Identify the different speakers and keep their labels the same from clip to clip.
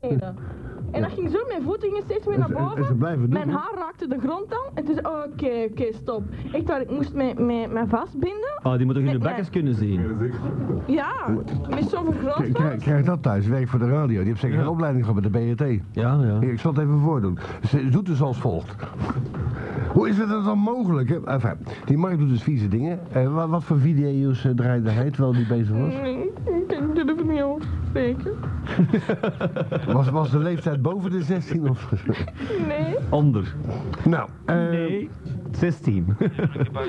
Speaker 1: beneden. En dat ging zo, mijn voeten gingen steeds meer naar
Speaker 2: En ze- en- en
Speaker 1: boven.
Speaker 2: ze blijven doen,
Speaker 1: Mijn
Speaker 2: hè?
Speaker 1: haar raakte de grond dan. En toen zei oké, oké, stop. Echt waar, ik moest mij, mij, mij vastbinden.
Speaker 2: Ah.
Speaker 3: Oh, die moet toch in de
Speaker 1: Nee,
Speaker 3: bekkers kunnen zien?
Speaker 1: Ja, met zo'n
Speaker 2: Krijg, krijg,
Speaker 1: vergrootglas.
Speaker 2: krijg dat thuis, werk voor de radio. Die heeft zeker
Speaker 3: Ja.
Speaker 2: een opleiding gehad bij de BRT.
Speaker 3: Ja, ja.
Speaker 2: Hier, Ik zal het even voordoen. Ze doet dus als volgt. Hoe is het dan mogelijk? Hè? Enfin, die Mark doet dus vieze dingen. Eh, wat, wat voor video's eh, draaide hij terwijl die bezig was?
Speaker 1: Nee, ik durf er niet over te spreken.
Speaker 2: was? Was de leeftijd boven de 16 of...
Speaker 1: Nee,
Speaker 3: Onder.
Speaker 2: nou, eh,
Speaker 3: Nee. 16.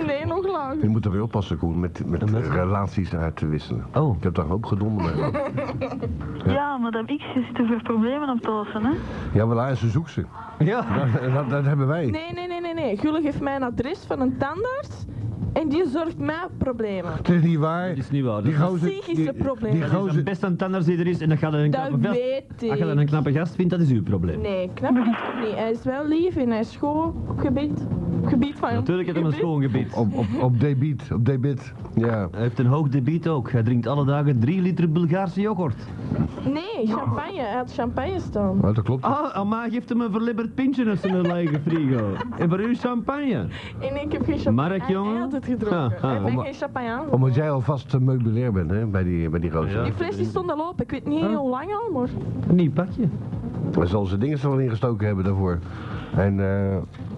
Speaker 1: nee, nog lang.
Speaker 2: je moet er weer oppassen, Koen, met, met
Speaker 3: Omdat?
Speaker 2: relaties uit te wisselen.
Speaker 3: Oh.
Speaker 2: Ik heb daar een hoop gedonder mee gehad.
Speaker 4: Ja, madame X, je zit er voor problemen op te lossen, hè?
Speaker 2: Ja, wel, hij- ze zoekt ze.
Speaker 3: Ja.
Speaker 2: Dat, dat, dat hebben wij.
Speaker 1: Nee, nee, nee, nee, nee. Gulle geeft mij een adres van een tandarts. En die zorgt mij problemen.
Speaker 2: Het is niet waar.
Speaker 3: Dat is niet waar.
Speaker 2: Die
Speaker 3: dat
Speaker 2: gozer...
Speaker 1: Psychische
Speaker 2: die-
Speaker 1: problemen.
Speaker 2: Die
Speaker 3: dat is de
Speaker 2: gozer...
Speaker 3: beste tandarts die er is en dat gaat een
Speaker 1: Dat
Speaker 3: knappe vest.
Speaker 1: weet
Speaker 2: Ah,
Speaker 3: Als je dan
Speaker 1: ik.
Speaker 3: een knappe gast vindt, dat is uw probleem.
Speaker 1: Nee, knap is het niet. Hij is wel lief en hij is schoon op gebied. Op gebied van...
Speaker 3: Natuurlijk heeft hij een
Speaker 1: gebied.
Speaker 3: schoongebied.
Speaker 2: Op, op, op debiet, op debit. Ja.
Speaker 3: Hij heeft een hoog debiet ook. Hij drinkt alle dagen 3 liter Bulgaarse yoghurt.
Speaker 1: Nee, champagne. Hij had champagne staan.
Speaker 2: Maar dat klopt.
Speaker 3: Ah, Amma geeft hem een verlibberd pintje uit zijn lege frigo. En voor u champagne.
Speaker 1: En ik heb geen champagne.
Speaker 3: Mark,
Speaker 1: Hij-
Speaker 3: jongen.
Speaker 1: Hij had het gedronken.
Speaker 3: Ha, ha.
Speaker 1: Ik ben
Speaker 2: Om-
Speaker 1: geen champagne aan.
Speaker 2: Omdat jij alvast eh, meubilair bent, hè, bij die, bij die gozer.
Speaker 3: Ja.
Speaker 1: Die fles die stond al op. Ik weet niet heel lang al, maar...
Speaker 3: Een nieuw pakje.
Speaker 2: Hij zal zijn dingen er wel ingestoken hebben daarvoor. En, eh.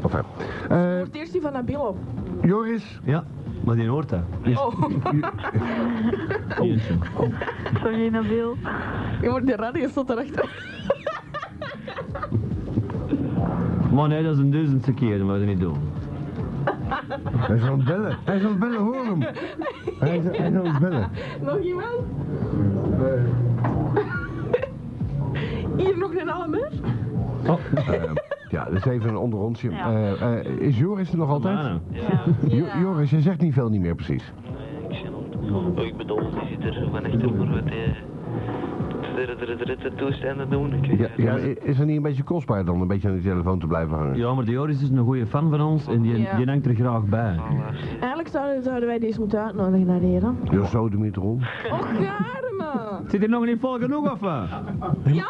Speaker 2: enfin. Eh,
Speaker 1: Wordt eerst die van Nabil op.
Speaker 2: Joris,
Speaker 3: Ja, maar die hoort dat.
Speaker 1: Oh,
Speaker 3: Eentje.
Speaker 4: Sorry, Nabil.
Speaker 1: je wordt de radio stond erachter.
Speaker 3: Maar nee, dat is een duizendste keer, dat moet je niet doen.
Speaker 2: hij is aan het bellen. Hij is aan het bellen, hoor hem. Hij is, hij is aan het bellen.
Speaker 1: Nog iemand? Hier nog een ander?
Speaker 3: Oh.
Speaker 2: Eh, ja, dat is even een onder onsje.
Speaker 4: Ja.
Speaker 2: Eh, eh, is Joris er nog altijd?
Speaker 3: Mana.
Speaker 2: Jo- Joris, je zegt niet veel niet meer precies.
Speaker 5: Ik zit om- Ik bedoel, die zit er zo van achter voor wat eh, hij... toestanden doen. Ik weet
Speaker 2: Ja,
Speaker 5: het
Speaker 2: ja,
Speaker 5: niet.
Speaker 2: i- is het niet een beetje kostbaar dan een beetje aan die telefoon te blijven hangen?
Speaker 3: Ja, maar die Joris is een goede fan van ons en die,
Speaker 1: Ja.
Speaker 3: die hangt er graag bij.
Speaker 1: Eigenlijk zouden, zouden wij deze moeten uitnodigen naar hier. hè?
Speaker 2: Ja, zo de meter om.
Speaker 1: Och, garme!
Speaker 3: Zit er nog niet vol genoeg of wat?
Speaker 1: Ja, maar nee,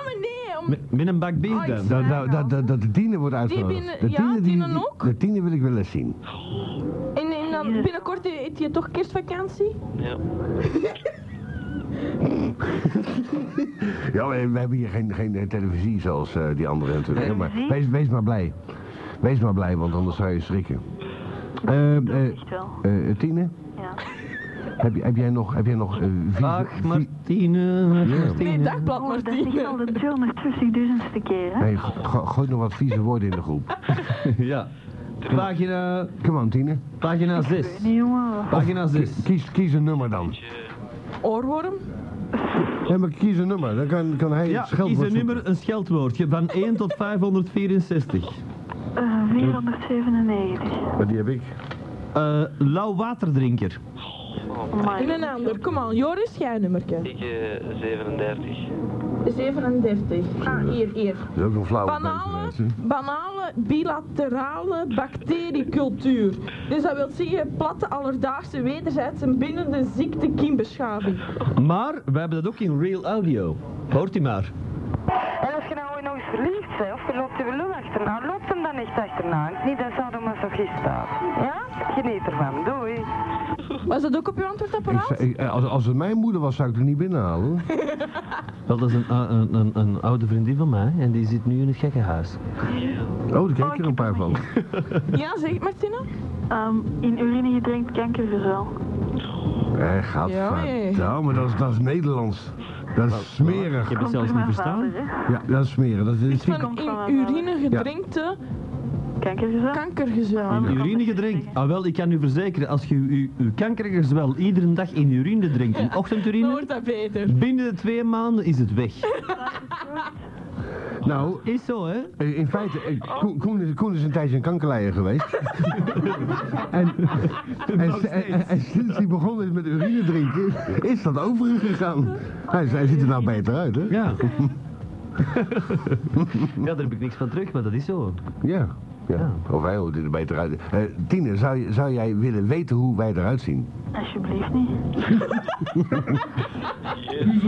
Speaker 1: om...
Speaker 3: M- Met een bak bier dan?
Speaker 2: Dat, dat, dat, dat, dat de tiener wordt
Speaker 1: binnen-
Speaker 2: uitgenodigd. De
Speaker 1: ja,
Speaker 2: tiener die-
Speaker 1: tienen
Speaker 2: die-
Speaker 1: ook?
Speaker 2: De tiener wil ik wel eens zien.
Speaker 1: En, en dan binnenkort heeft je toch kerstvakantie?
Speaker 5: Ja.
Speaker 2: Ja, we we hebben hier geen, geen eh, televisie zoals eh, die andere natuurlijk. hè, Maar
Speaker 4: Televisie?
Speaker 2: wees, wees maar blij. Wees maar blij, want anders zou je schrikken. Ehm eh
Speaker 4: Echt wel,
Speaker 2: eh, Tine,
Speaker 4: ja.
Speaker 2: heb, je- heb jij nog... Heb jij nog eh, visie-
Speaker 3: Ach,
Speaker 2: vi-
Speaker 3: Martine, ach,
Speaker 2: Ja.
Speaker 1: Nee,
Speaker 3: Martine.
Speaker 1: dagblad
Speaker 4: Oh, dat is echt al
Speaker 1: Martine.
Speaker 4: de 220.000ste keer, hè?
Speaker 2: Nee, go- go- gooi nog wat vieze woorden in de groep.
Speaker 3: Ja. Pagina,
Speaker 2: Kom aan, Tine.
Speaker 3: pagina 6.
Speaker 4: Nee, jongen.
Speaker 3: Pagina 6.
Speaker 2: Kies, kies een nummer dan.
Speaker 1: Oorworm?
Speaker 2: Ja, maar kies een nummer. Dan kan, kan hij
Speaker 3: Ja,
Speaker 2: het scheldwoord
Speaker 3: kies een
Speaker 2: zoeken.
Speaker 3: nummer, een scheldwoordje van 1 tot 564.
Speaker 4: Eh, 497.
Speaker 2: Maar die heb ik.
Speaker 3: Eh lauw
Speaker 1: In
Speaker 3: waterdrinker.
Speaker 1: een
Speaker 4: Maar
Speaker 1: ander. Kom aan, Joris, jij nummerke.
Speaker 5: Ik eh 37.
Speaker 1: 37. Ah, hier, hier.
Speaker 2: Dat is ook een flauwe
Speaker 1: Banale,
Speaker 2: mensen, mensen.
Speaker 1: banale bilaterale bacteriecultuur. Dus dat wil zeggen platte alledaagse wederzijdse bindende ziekte kiembeschaving.
Speaker 3: Maar we hebben dat ook in real audio. Hoort u maar.
Speaker 6: En als je nou nog eens verliefd bent, of je loopt je lul achterna, loopt nou, hem dan echt achterna. Niet dat zou masochist staat. Ja? Geniet ervan. Doei.
Speaker 1: Was dat ook op uw
Speaker 2: Ik
Speaker 1: antwoordapparaat?
Speaker 2: zou- ik- eh, als, als het mijn moeder was, zou ik er niet binnenhalen. hoor.
Speaker 3: Wel, dat is een, a- een, een, een oude vriendin van mij en die zit nu in het gekkenhuis.
Speaker 2: Oh, daar krijg ik er een paar van.
Speaker 1: Ja, zeg het Martina.
Speaker 4: ehm, in urine gedrenkt kankerverzuil.
Speaker 2: Hé, gaat
Speaker 1: Ja, jee.
Speaker 2: Ja, maar Eh, dat is, dat is Nederlands. Dat is
Speaker 3: Ik
Speaker 2: smerig.
Speaker 3: heb het zelfs niet verstaan.
Speaker 2: Ja, dat is smerig. Dat is,
Speaker 1: Van in urine gedrinkte
Speaker 4: Kankerverzuil?
Speaker 1: kankergezel.
Speaker 4: Ja.
Speaker 3: Urine gedrinkt. Ah wel, ik kan u verzekeren, als je uw, uw kankergezwel iedere dag in urine drinkt, in
Speaker 1: Dan
Speaker 3: ochtendurine,
Speaker 1: wordt dat beter.
Speaker 3: binnen de twee maanden is het weg.
Speaker 2: nou,
Speaker 3: Is zo, hè?
Speaker 2: eh, in feite,
Speaker 1: Oh.
Speaker 2: eh, Koen, Koen is, Koen is een tijdje een kankerleier geweest. en, en,
Speaker 3: Nog
Speaker 2: en, en- en sinds hij begonnen is met urine drinken, is dat overgegaan. Hij, hij ziet er nou beter uit, hè?
Speaker 3: Ja. ja, daar heb ik niks van terug, maar dat is zo.
Speaker 2: Ja. Ja. Of wij hoe dit er beter uit. Eh, Tine, zou, je- zou jij willen weten hoe wij eruit zien?
Speaker 4: Alsjeblieft niet.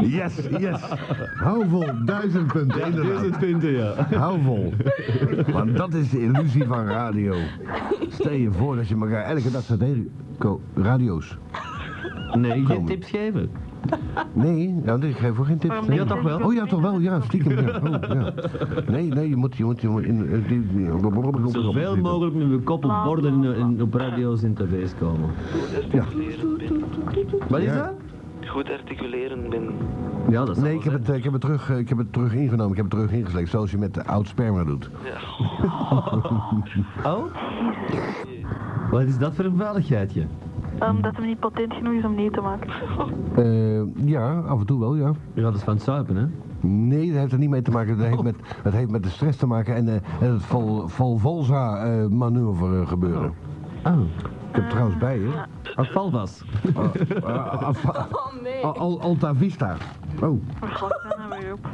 Speaker 2: Yes, yes. Hou vol, duizend punten. inderdaad.
Speaker 3: punten, ja.
Speaker 2: Hou vol. Want dat is de illusie van radio. Stel je voor dat je elkaar elke dag staat tegen- Ko- radio's.
Speaker 3: Nee, geen
Speaker 2: Komen.
Speaker 3: tips geven.
Speaker 2: Nee, nou, ik geef voor geen tips.
Speaker 4: Waarom
Speaker 2: Nee.
Speaker 3: Ja, toch wel.
Speaker 2: Oh ja, toch wel, ja, stiekem. Ja. Oh, ja. Nee, nee, je moet, je moet, je moet in, eh, die- die-
Speaker 3: Zoveel mogelijk met mijn kop op borden en, en op radio's en tv's komen.
Speaker 5: Articuleren ben.
Speaker 3: Wat is
Speaker 2: Ja.
Speaker 3: dat?
Speaker 5: Goed articuleren ben.
Speaker 3: Ja, dat is
Speaker 2: Nee, ik heb, het, eh, ik, heb het terug, eh, ik heb het terug ingenomen, ik heb het terug ingesleept, zoals je met de oud sperma doet.
Speaker 5: Ja.
Speaker 3: Oh? Wat is dat voor een veiligheidje?
Speaker 4: Omdat Ehm, hem niet patent genoeg is om niet te maken.
Speaker 2: Eh, ja, af en toe wel, ja.
Speaker 3: Ja, dat is van het zuipen, hè?
Speaker 2: Nee, dat heeft er niet mee te maken. Dat heeft met, dat heeft met de stress te maken en, eh, en het Vol- Volvolza-manoeuvre gebeuren.
Speaker 3: Oh,
Speaker 2: Ik heb trouwens bij, hè.
Speaker 3: afvalvas.
Speaker 2: Ah, af-
Speaker 1: Oh nee.
Speaker 2: Al- Al- Alta Vista. Oh.
Speaker 4: Maar god, dan hebben we op.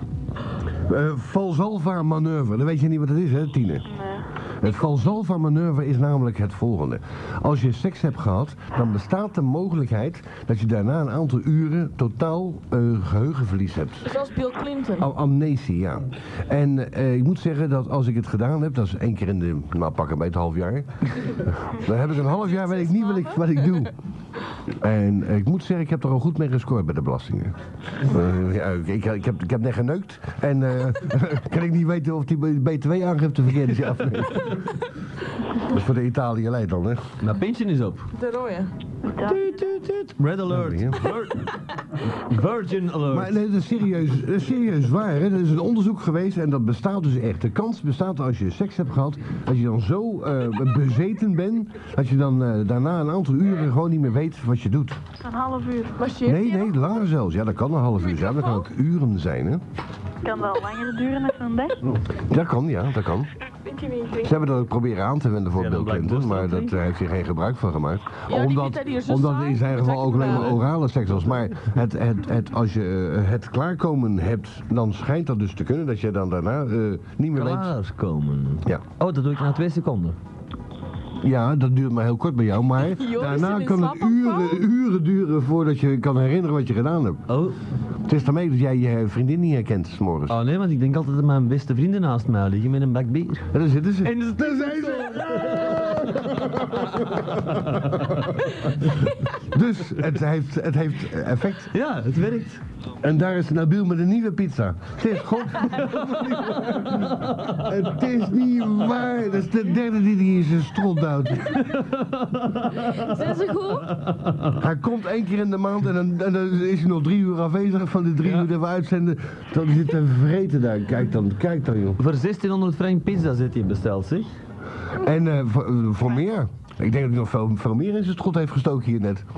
Speaker 2: eh Valsalva-manoeuvre. Dan weet je niet wat het is, hè, Tine?
Speaker 4: Nee.
Speaker 2: Het Valsalva-manoeuvre is namelijk het volgende. Als je seks hebt gehad, dan bestaat de mogelijkheid dat je daarna een aantal uren totaal eh, geheugenverlies hebt.
Speaker 1: Zoals Bill Clinton.
Speaker 2: Am- amnesie, ja. En eh, ik moet zeggen dat als ik het gedaan heb, dat is één keer in de, nou pakken bij het half jaar. dan heb ik een half jaar, weet ik niet wat ik, wat ik doe. En eh, ik moet zeggen, ik heb er al goed mee gescoord bij de belastingen. Eh, ja, ik, ik, ik heb, ik heb net geneukt en eh, kan ik niet weten of die BTW-aangifte verkeerd is. Ja, of nee. Dat is voor de Italië-lijn dan, hè?
Speaker 3: Mijn pintje is op.
Speaker 1: De rode.
Speaker 3: Tuut, tuut, tuut. Red alert.
Speaker 2: Ja.
Speaker 3: Vir- Virgin alert.
Speaker 2: Maar nee, dat is serieus, dat is serieus waar. Hè? Er is een onderzoek geweest en dat bestaat dus echt. De kans bestaat als je seks hebt gehad, als je dan zo eh, bezeten bent, dat je dan eh, daarna een aantal uren gewoon niet meer weet wat je doet.
Speaker 4: Een half uur.
Speaker 1: Marcheert
Speaker 2: Nee,
Speaker 1: hij
Speaker 2: nee,
Speaker 1: nog?
Speaker 2: langer zelfs. Ja, dat kan een half uur zijn. Dat kan ook uren zijn, hè?
Speaker 4: Kan wel langer duren dan een dag.
Speaker 2: Dat kan, ja, dat kan. Ze hebben dat ook proberen aan te wenden voor
Speaker 3: Ja,
Speaker 2: Bill
Speaker 3: dan blijkt
Speaker 2: Clinton, maar
Speaker 3: borstkanker.
Speaker 2: dat eh, heeft hij geen gebruik van gemaakt.
Speaker 1: Ja, die vindt
Speaker 2: omdat
Speaker 1: dat hier zo
Speaker 2: omdat
Speaker 1: saai,
Speaker 2: in zijn
Speaker 1: dat
Speaker 2: geval
Speaker 1: hij
Speaker 2: ook alleen maar
Speaker 1: gebruikt.
Speaker 2: orale seks was. Maar het, het, het, als je eh, het klaarkomen hebt, dan schijnt dat dus te kunnen dat je dan daarna eh, niet meer weet.
Speaker 3: Klaarkomen.
Speaker 2: Ja.
Speaker 3: Oh, dat doe ik na twee seconden.
Speaker 2: ja, dat duurt maar heel kort bij jou, maar
Speaker 1: Joh, is
Speaker 2: daarna
Speaker 1: er een
Speaker 2: kan het
Speaker 1: slaapafval?
Speaker 2: uren, uren duren voordat je kan herinneren wat je gedaan hebt.
Speaker 3: Oh,
Speaker 2: Het is daarmee dat jij je vriendin niet herkent, s'morgens.
Speaker 3: oh nee, want ik denk altijd dat mijn beste vrienden naast mij liggen met een bak bier.
Speaker 2: En daar zitten ze.
Speaker 3: En dat is
Speaker 2: daar zijn ze! dus het heeft, het heeft effect.
Speaker 3: Ja, het werkt.
Speaker 2: En daar is Nabil met een nieuwe pizza. Het is god. het is niet waar. Dat is de derde die die in zijn strot duwt.
Speaker 1: Zijn ze goed?
Speaker 2: Hij komt één keer in de maand en dan, en dan is hij nog drie uur afwezig van de drie uur dat we uitzenden. Dan zit hij vreten daar. Kijk dan, kijk dan joh.
Speaker 3: Voor 1600 frank pizza zit je besteld, zeg.
Speaker 2: En eh, voor, eh, voor meer. Ik denk dat hij nog veel, veel meer in zijn strot heeft gestoken hier net.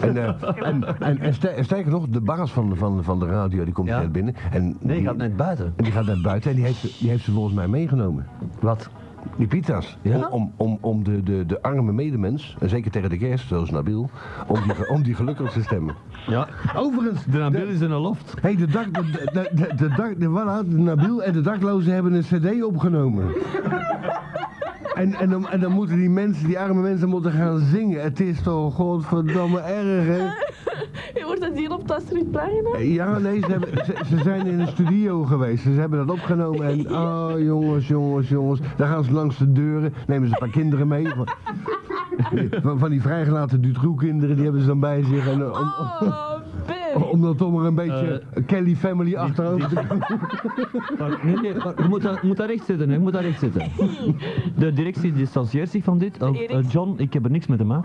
Speaker 2: En, eh, en, en, en ster- en sterker nog, de baas van, van, van de radio die komt
Speaker 3: Ja.
Speaker 2: net binnen. En
Speaker 3: Nee,
Speaker 2: die,
Speaker 3: je gaat net buiten.
Speaker 2: en die gaat naar buiten en die heeft, die heeft ze volgens mij meegenomen.
Speaker 3: Wat?
Speaker 2: Die pizza's.
Speaker 3: Ja?
Speaker 2: Om, om, om, om de, de, de arme medemens, en zeker tegen de kerst, zoals Nabil, om die, ge- om die gelukkig te stemmen.
Speaker 3: Ja.
Speaker 2: Overigens,
Speaker 3: De Nabil is in een loft.
Speaker 2: Hé, de, dak, de, de, de, de, dak, de, voilà, de Nabil en de daklozen hebben een cd opgenomen. En, en, dan, en dan moeten die mensen, die arme mensen moeten gaan zingen. Het is toch godverdamme erg, hè?
Speaker 1: Je wordt dat hier op Tastriet Plein? hè?
Speaker 2: Ja, nee, ze, hebben, ze, ze zijn in een studio geweest. Ze hebben dat opgenomen en... Oh, jongens, jongens, jongens. Dan gaan ze langs de deuren, nemen ze een paar kinderen mee. Van, van, van die vrijgelaten Dutroux-kinderen, die hebben ze dan bij zich. En, eh, om,
Speaker 1: Oh,
Speaker 2: om,
Speaker 1: Ben.
Speaker 2: om dat toch maar een beetje Kelly Family achterover te komen.
Speaker 3: Maar, nee, nee, maar je moet, daar, je moet daar recht zitten, hè. je moet daar recht zitten. De directie distancieert zich van dit. Oh,
Speaker 1: Erik.
Speaker 3: eh, John, ik heb er niks met hem aan.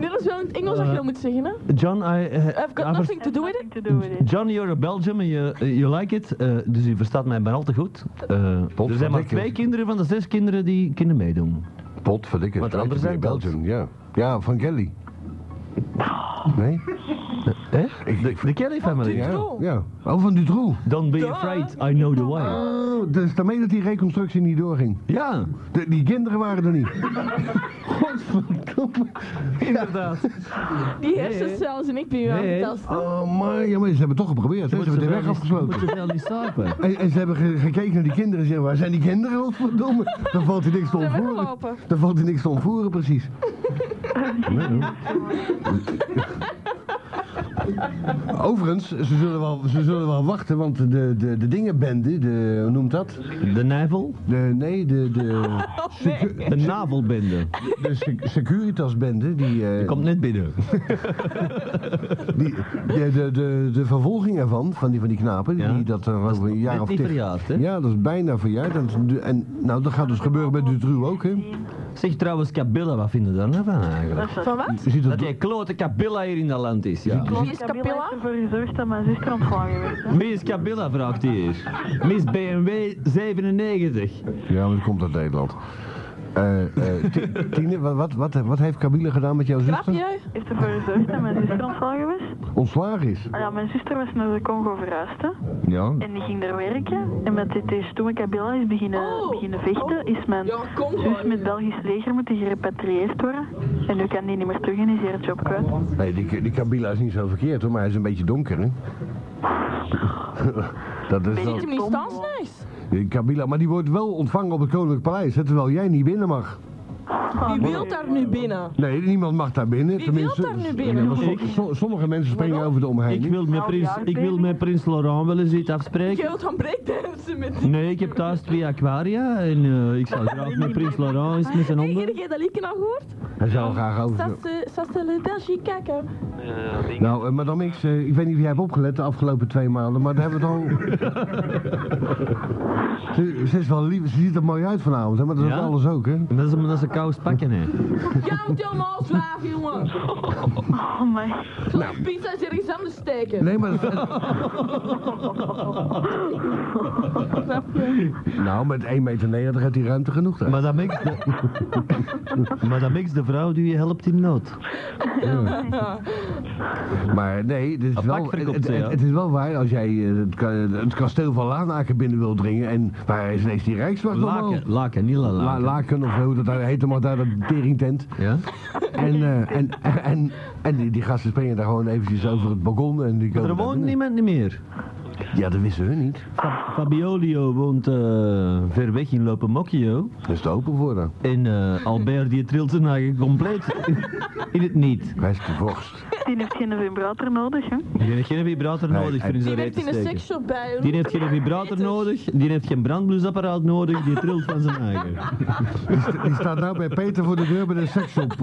Speaker 1: Dit is wel in het Engels dat je dat moet zeggen, hè?
Speaker 3: John, I, eh,
Speaker 1: I've got
Speaker 3: I vers-
Speaker 1: nothing to do with it.
Speaker 4: Nothing to do with it.
Speaker 3: John, you're a Belgium and you, you like it. Eh, dus u verstaat mij bijna al te goed. Eh, er zijn maar
Speaker 2: Potverdikke.
Speaker 3: twee kinderen van de zes kinderen die kunnen meedoen.
Speaker 2: Potverdikke.
Speaker 3: Want
Speaker 2: het lijkt
Speaker 3: anders
Speaker 2: op die
Speaker 3: zijn
Speaker 2: Belgium,
Speaker 3: het
Speaker 2: ja. Ja, van Kelly. Nee?
Speaker 3: Hè? De, de Kelly family.
Speaker 2: Ja, ja. Oh, van Dutroux.
Speaker 3: Don't be
Speaker 1: Duh.
Speaker 3: afraid, I know the way.
Speaker 2: Oh, dus daarmee dat die reconstructie niet doorging.
Speaker 3: Ja,
Speaker 2: De- die kinderen waren er niet.
Speaker 3: godverdomme. Inderdaad.
Speaker 7: Die hersencel zijn ik bij jou aan
Speaker 3: Nee,
Speaker 7: het
Speaker 3: hè?
Speaker 7: testen.
Speaker 2: Oh, maar, ja, maar ze hebben het toch geprobeerd. Hè? Ze hebben de weg afgesloten.
Speaker 3: Moet je wel niet slapen.
Speaker 2: En, en ze hebben ge- gekeken naar die kinderen en zeggen, waar zijn die kinderen? Godverdomme. Dan valt hij niks te
Speaker 1: zijn
Speaker 2: ontvoeren.
Speaker 1: weggelopen.
Speaker 2: Dan valt hij niks te ontvoeren, precies. Nou. Overigens, ze zullen, wel, ze zullen wel wachten, want de, de, de dingenbende, de, hoe noemt dat?
Speaker 3: De navel?
Speaker 2: De, nee, de, de, secu-
Speaker 3: De navelbende.
Speaker 2: de sec- Securitasbende, die, eh,
Speaker 3: Die komt net binnen.
Speaker 2: die, de, de, de, de vervolging ervan, van die, van die knapen,
Speaker 3: Ja.
Speaker 2: die dat er over een jaar
Speaker 3: Net
Speaker 2: of
Speaker 3: niet
Speaker 2: tig...
Speaker 3: verjaard, hè?
Speaker 2: Ja, dat is bijna verjaard. En, en nou, dat gaat dus gebeuren bij Dutroux ook, hè?
Speaker 3: Zeg trouwens, Kabila, wat vinden daar nou van eigenlijk?
Speaker 7: Van wat?
Speaker 2: Je ziet
Speaker 3: Dat
Speaker 2: dat
Speaker 3: die klote Kabila hier in dat land is, ja.
Speaker 7: Wie is Capilla?
Speaker 4: heeft ervoor gezorgd dat mijn zuster ontslagen werd. hè.
Speaker 3: Miss Kabila vraagt hier. Miss BMW 97.
Speaker 2: Ja, maar dat komt uit Nederland. Eh, eh, Ti- Tine, wa- wat, wat, wat heeft Kabila gedaan met jouw zuster?
Speaker 7: Grapje?
Speaker 4: Heeft ervoor gezorgd dat mijn zuster ontslagen werd.
Speaker 2: Ontslagen is.
Speaker 4: Ah ja, mijn zuster was naar de Congo verhuisd. hè.
Speaker 2: Ja.
Speaker 4: En die ging daar werken. En met dit is toen ik Kabila is beginnen,
Speaker 7: Oh.
Speaker 4: beginnen vechten, is mijn
Speaker 1: Ja, kom
Speaker 4: zus
Speaker 1: gewoon.
Speaker 4: met Belgisch leger moeten gerepatrieerd worden. En nu kan die niet meer terug en is hij haar job kwijt.
Speaker 2: Nee, die, die Kabila is niet zo verkeerd hoor, maar hij is een beetje donker hè. dat is
Speaker 7: Zit
Speaker 2: wel-
Speaker 7: hem niet stans nice?
Speaker 2: die Kabila, maar die wordt wel ontvangen op het Koninklijk Paleis, hè, terwijl jij niet binnen mag.
Speaker 1: Wie
Speaker 2: Ah.
Speaker 1: wil daar nu binnen?
Speaker 2: Nee, niemand mag daar binnen.
Speaker 1: Wie
Speaker 2: tenminste,
Speaker 1: wil daar nu binnen?
Speaker 2: Ja, maar som-
Speaker 3: Ik-
Speaker 2: som- sommige mensen springen over de
Speaker 3: Ik
Speaker 2: omheining.
Speaker 3: wil met prins, ik wil met prins Laurent wel eens iets
Speaker 1: Je
Speaker 3: afspreken.
Speaker 1: wilt gaan breakdansen met die.
Speaker 3: Nee, ik heb thuis twee aquaria en eh, ik zou graag met prins Laurent eens met zijn
Speaker 7: Hey, heb
Speaker 3: handen.
Speaker 7: jij dat liedje nog gehoord? eh,
Speaker 2: Hij zou graag over.
Speaker 7: Ça se- ça se le Belgique kijken.
Speaker 5: Eh, ding.
Speaker 2: Nou, eh, madame X, eh, ik weet niet of jij hebt opgelet de afgelopen twee maanden, maar daar hebben we het al... ze, ze is wel lief, ze ziet er mooi uit vanavond, hè, maar dat is
Speaker 3: Ja?
Speaker 2: ook alles ook, hè?
Speaker 3: En Dat is omdat ze kous pakken, hè.
Speaker 1: Jij moet helemaal slagen, jongen.
Speaker 4: Oh my.
Speaker 1: Zullen we pizza's ergens anders steken?
Speaker 2: Nou. Nee, maar... nou, met 1,90 meter heeft hij ruimte genoeg daar.
Speaker 3: Madame X, de... Madame X, de vrouw die je helpt in nood.
Speaker 2: Maar nee, dit is
Speaker 3: Een
Speaker 2: wel,
Speaker 3: pak verkoopt
Speaker 2: het,
Speaker 3: ze,
Speaker 2: het-
Speaker 3: ja.
Speaker 2: het is wel waar als jij eh, het, ka- het kasteel van Lanaken binnen wil dringen en waar is ineens die Rijkswacht omhoog?
Speaker 3: Laken, laken, niet la-
Speaker 2: La,
Speaker 3: laken.
Speaker 2: laken of hoe dat daar heet, maar daar dat teringtent.
Speaker 3: Ja?
Speaker 2: En, eh, en, en, en die, die gasten springen daar gewoon eventjes over het balkon en die komen daar
Speaker 3: Er woont
Speaker 2: binnen.
Speaker 3: niemand meer.
Speaker 2: Ja, dat wisten hun niet.
Speaker 3: Oh, Fa- Fabiolio woont eh, ver weg in Lopemocchio.
Speaker 2: Daar is te open voor dan.
Speaker 3: En eh, Albert die trilt zijn eigen compleet in het niet.
Speaker 2: Hij is te vorst.
Speaker 4: Die heeft geen vibrator nodig, hè?
Speaker 3: Die heeft geen vibrator
Speaker 2: Nee,
Speaker 3: nodig voor
Speaker 2: hij-
Speaker 3: in
Speaker 1: Die
Speaker 3: zijn reet
Speaker 1: heeft
Speaker 3: te
Speaker 1: in een
Speaker 3: steken.
Speaker 1: seksshop bij.
Speaker 3: Die heeft geen vibrator nodig, die heeft geen brandblusapparaat nodig, die trilt van zijn eigen.
Speaker 2: Die, sta- die staat nou bij Peter voor de deur bij de seksshop.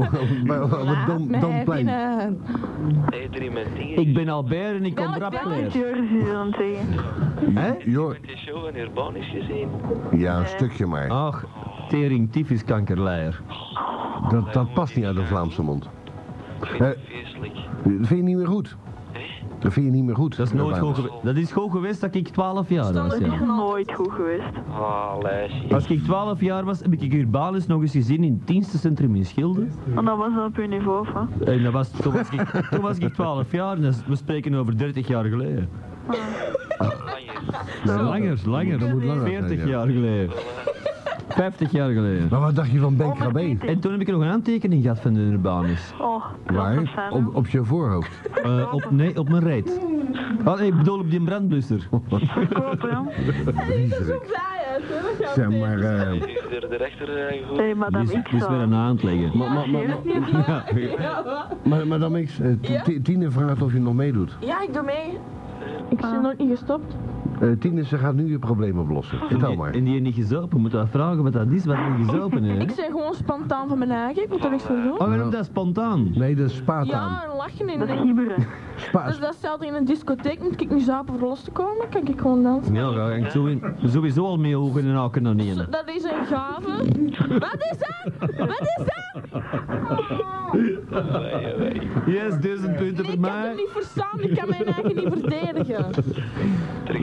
Speaker 2: Bij- Op het Dom-
Speaker 7: Mij
Speaker 2: Domplein.
Speaker 7: binnen.
Speaker 5: Hey, eh, drie met ding.
Speaker 3: Ik ben Albert en ik kom
Speaker 7: Welk
Speaker 3: rap
Speaker 7: belletje?
Speaker 3: klaar.
Speaker 4: Joris is aan het zeggen.
Speaker 3: Hè?
Speaker 2: Jo-
Speaker 5: Met die show van Urban is gezien.
Speaker 2: Ja, een stukje maar.
Speaker 3: Ach, tering, tyfus, kankerleier. Oh.
Speaker 2: Dat, dat past niet uit de Vlaamse mond.
Speaker 5: Ik vind het feestelijk.
Speaker 2: Dat vind je niet meer goed. Dat vind je niet meer goed.
Speaker 3: Dat is nooit goed geweest. Dat is goed geweest dat ik 12 jaar was.
Speaker 1: Standaard
Speaker 3: Ja.
Speaker 4: Dat is nooit goed geweest.
Speaker 5: Ah, lijstje.
Speaker 3: Als ik 12 jaar was, heb ik Urbanus nog eens gezien in het dienstencentrum in Schilde.
Speaker 4: Want dat was al op je niveau, hè?
Speaker 3: En dat was, toen, was ik, toen was ik 12 jaar, en dat is- we spreken over 30 jaar geleden.
Speaker 5: Ah,
Speaker 3: Langer, langer,
Speaker 2: Dat moet langer zijn,
Speaker 3: 40
Speaker 2: ja.
Speaker 3: jaar geleden. 50 jaar geleden.
Speaker 2: Oh, Maar wat dacht je van Ben Krabbe?
Speaker 3: En toen heb ik nog een aantekening gehad van de Urbanus.
Speaker 4: Oh, dat was
Speaker 2: Waar?
Speaker 4: fijn,
Speaker 2: Op, op je voorhoofd.
Speaker 3: Eh, op, nee, op mijn reet. Oh, ik bedoel op die brandblusser.
Speaker 4: Verkopen, hè?
Speaker 2: Zeg maar, eh,
Speaker 5: Is er de rechter eh, goed?
Speaker 4: Hey, madame
Speaker 3: Dus,
Speaker 4: X.
Speaker 3: dus weer een aanleggen. Maar, maar, maar,
Speaker 2: maar, maar dan niks. Eh, Ti- Ti- Tine vraagt of je nog meedoet.
Speaker 7: Ja, ik doe mee. Ik ben nooit niet gestopt.
Speaker 2: Eh, Tine, ze gaat nu je probleem oplossen. Vertel maar.
Speaker 3: en die heeft niet gezopen. Moet dat vragen wat dat is, wat niet gezopen is.
Speaker 7: Ik
Speaker 3: hè?
Speaker 7: zeg gewoon spontaan van mijn eigen. Ik moet er niks voor doen.
Speaker 2: Ah,
Speaker 3: Oh, we noemen dat spontaan.
Speaker 2: Nee, dat is Spaataan.
Speaker 7: Ja, en lachen in
Speaker 4: Dat is
Speaker 7: de...
Speaker 4: gibberen.
Speaker 2: Spa,
Speaker 7: Dus dat stelde in een discotheek, moet ik nu zapen voor los te komen? Kan ik gewoon dansen?
Speaker 3: Ja, daar hangt zo in- sowieso al mee ogen en haken naar niet.
Speaker 7: Dat is een gave. Wat is dat? Wat is dat?
Speaker 3: Yes, duizend punten
Speaker 7: Nee,
Speaker 3: voor
Speaker 7: ik kan het
Speaker 3: mij.
Speaker 7: niet verstaan. Ik kan mijn eigen niet verdedigen.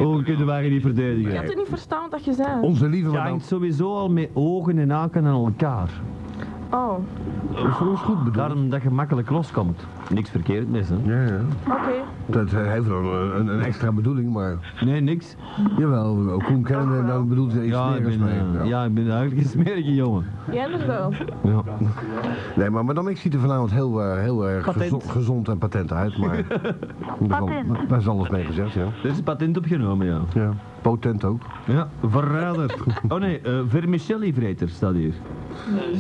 Speaker 3: Ogen kunnen wij niet verdedigen.
Speaker 7: Ik had het niet verstaan wat dat je zei.
Speaker 2: onze lieve
Speaker 3: Je
Speaker 2: madame.
Speaker 3: hangt sowieso al met ogen en haken aan elkaar.
Speaker 1: Oh,
Speaker 2: Dat is ons goed bedoeld.
Speaker 3: Daarom dat je makkelijk loskomt. Niks verkeerd mis, hè?
Speaker 2: Ja, ja.
Speaker 1: oké.
Speaker 2: Dat eh, heeft wel een, een- een extra bedoeling, maar...
Speaker 3: Nee, niks.
Speaker 2: Jawel, Koen kennen en dan bedoelt hij iets
Speaker 3: Ja, ik
Speaker 2: meer
Speaker 3: ben,
Speaker 2: mee.
Speaker 3: eh,
Speaker 2: Ja.
Speaker 3: ja, ik ben eigenlijk een smerige jongen.
Speaker 1: Jij bent wel.
Speaker 3: Ja.
Speaker 2: Nee, maar madame, ik ziet er vanavond heel, eh, heel erg
Speaker 3: Patent.
Speaker 2: gezo- gezond en patent uit, maar... Daar is al- Daar is alles mee gezegd, ja.
Speaker 3: Er is een patent opgenomen, ja.
Speaker 2: ja. Potent ook.
Speaker 3: Ja, verrader. Oh nee, eh vermicelli-vreter staat hier.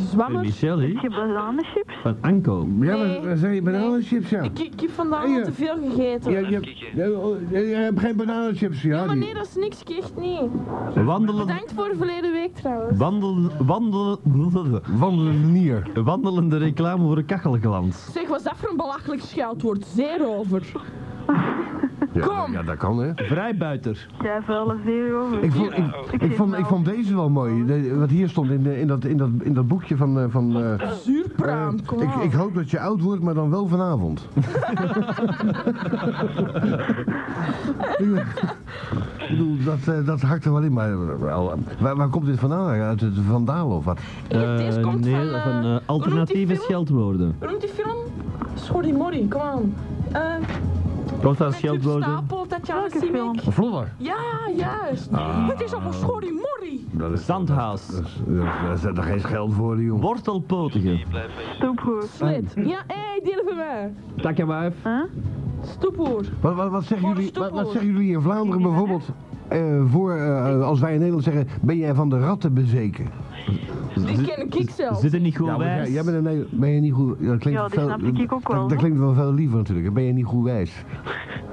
Speaker 1: Zwammers.
Speaker 3: Vermicelli
Speaker 4: Je bananenchips?
Speaker 3: van Anko.
Speaker 2: Ja,
Speaker 1: Nee.
Speaker 2: maar zei je bananenchips, ja.
Speaker 1: Ik, ik heb vandaag
Speaker 2: Hey,
Speaker 1: al
Speaker 2: eh.
Speaker 1: te veel gegeten.
Speaker 2: Ja, je, hebt- ja, je hebt geen bananenchips, ja.
Speaker 1: Maar nee,
Speaker 2: Die.
Speaker 1: dat is niks, ik echt niet.
Speaker 3: Wandelen,
Speaker 1: Bedankt voor verleden week trouwens.
Speaker 3: wandel, wandelen,
Speaker 2: Wandelende nier.
Speaker 3: wandelende reclame voor een kachelglans.
Speaker 1: Zeg, was dat voor een belachelijk scheldwoord? Zeer over.
Speaker 2: Ja,
Speaker 1: Kom.
Speaker 2: ja, dat kan, hè.
Speaker 3: Vrijbuiter.
Speaker 4: Ja, voor alle zeer over.
Speaker 2: Ik vond, ik, ik, vond, ik vond deze wel mooi, de- wat hier stond in, de- in, dat, in, dat, in dat boekje van... eh, van eh,
Speaker 1: Zuurpruim,
Speaker 3: Eh,
Speaker 1: kom
Speaker 2: ik,
Speaker 1: aan.
Speaker 2: ik hoop dat je oud wordt, maar dan wel vanavond. ik bedoel, dat, eh, dat hakt er wel in, maar wel, eh, waar, waar komt dit vandaan? Uit het Vandalen of wat?
Speaker 1: Hier, deze
Speaker 3: Eh,
Speaker 1: komt
Speaker 3: nee,
Speaker 1: van, eh,
Speaker 3: van eh,
Speaker 1: hoe noemt die
Speaker 3: alternatieve
Speaker 1: film?
Speaker 3: scheldwoorden.
Speaker 1: Hoe noemt die film? Schorrimorri, kom aan. Eh,
Speaker 3: Komt dat
Speaker 1: met Huub
Speaker 3: scheldwoorden?
Speaker 1: Stapel, Tatjana
Speaker 4: Welke
Speaker 1: Simic.
Speaker 4: film?
Speaker 2: Vlodder.
Speaker 1: Ja, juist.
Speaker 2: Ah.
Speaker 1: Het is allemaal schorrimorri.
Speaker 2: Dat is,
Speaker 3: Zandhaas.
Speaker 2: dat is, dat is, dat is geen geld voor, joh.
Speaker 3: Wortelpotige.
Speaker 4: Stoephoer.
Speaker 1: Slit. Ja, hé, hey, deel van mij.
Speaker 3: Takkenwijf.
Speaker 4: Huh?
Speaker 1: Stoephoer.
Speaker 2: Wat, wat, wat, zeggen
Speaker 1: Voor de
Speaker 2: jullie, wat, wat
Speaker 1: stoepel.
Speaker 2: zeggen jullie in Vlaanderen bijvoorbeeld eh, voor, eh, als wij in Nederland zeggen, ben jij van de ratten bezeken?
Speaker 1: Die ken ik ik zelf.
Speaker 3: Zit er niet goed
Speaker 2: Ja, maar jij,
Speaker 3: wijs?
Speaker 2: jij bent, een, Nederlander. ben je niet goed... Dat klinkt
Speaker 4: Ja, die
Speaker 2: veel,
Speaker 4: snap ik ik ook
Speaker 2: Dat,
Speaker 4: wel,
Speaker 2: dat
Speaker 4: hoor.
Speaker 2: klinkt wel veel liever natuurlijk. Ben je niet goed wijs?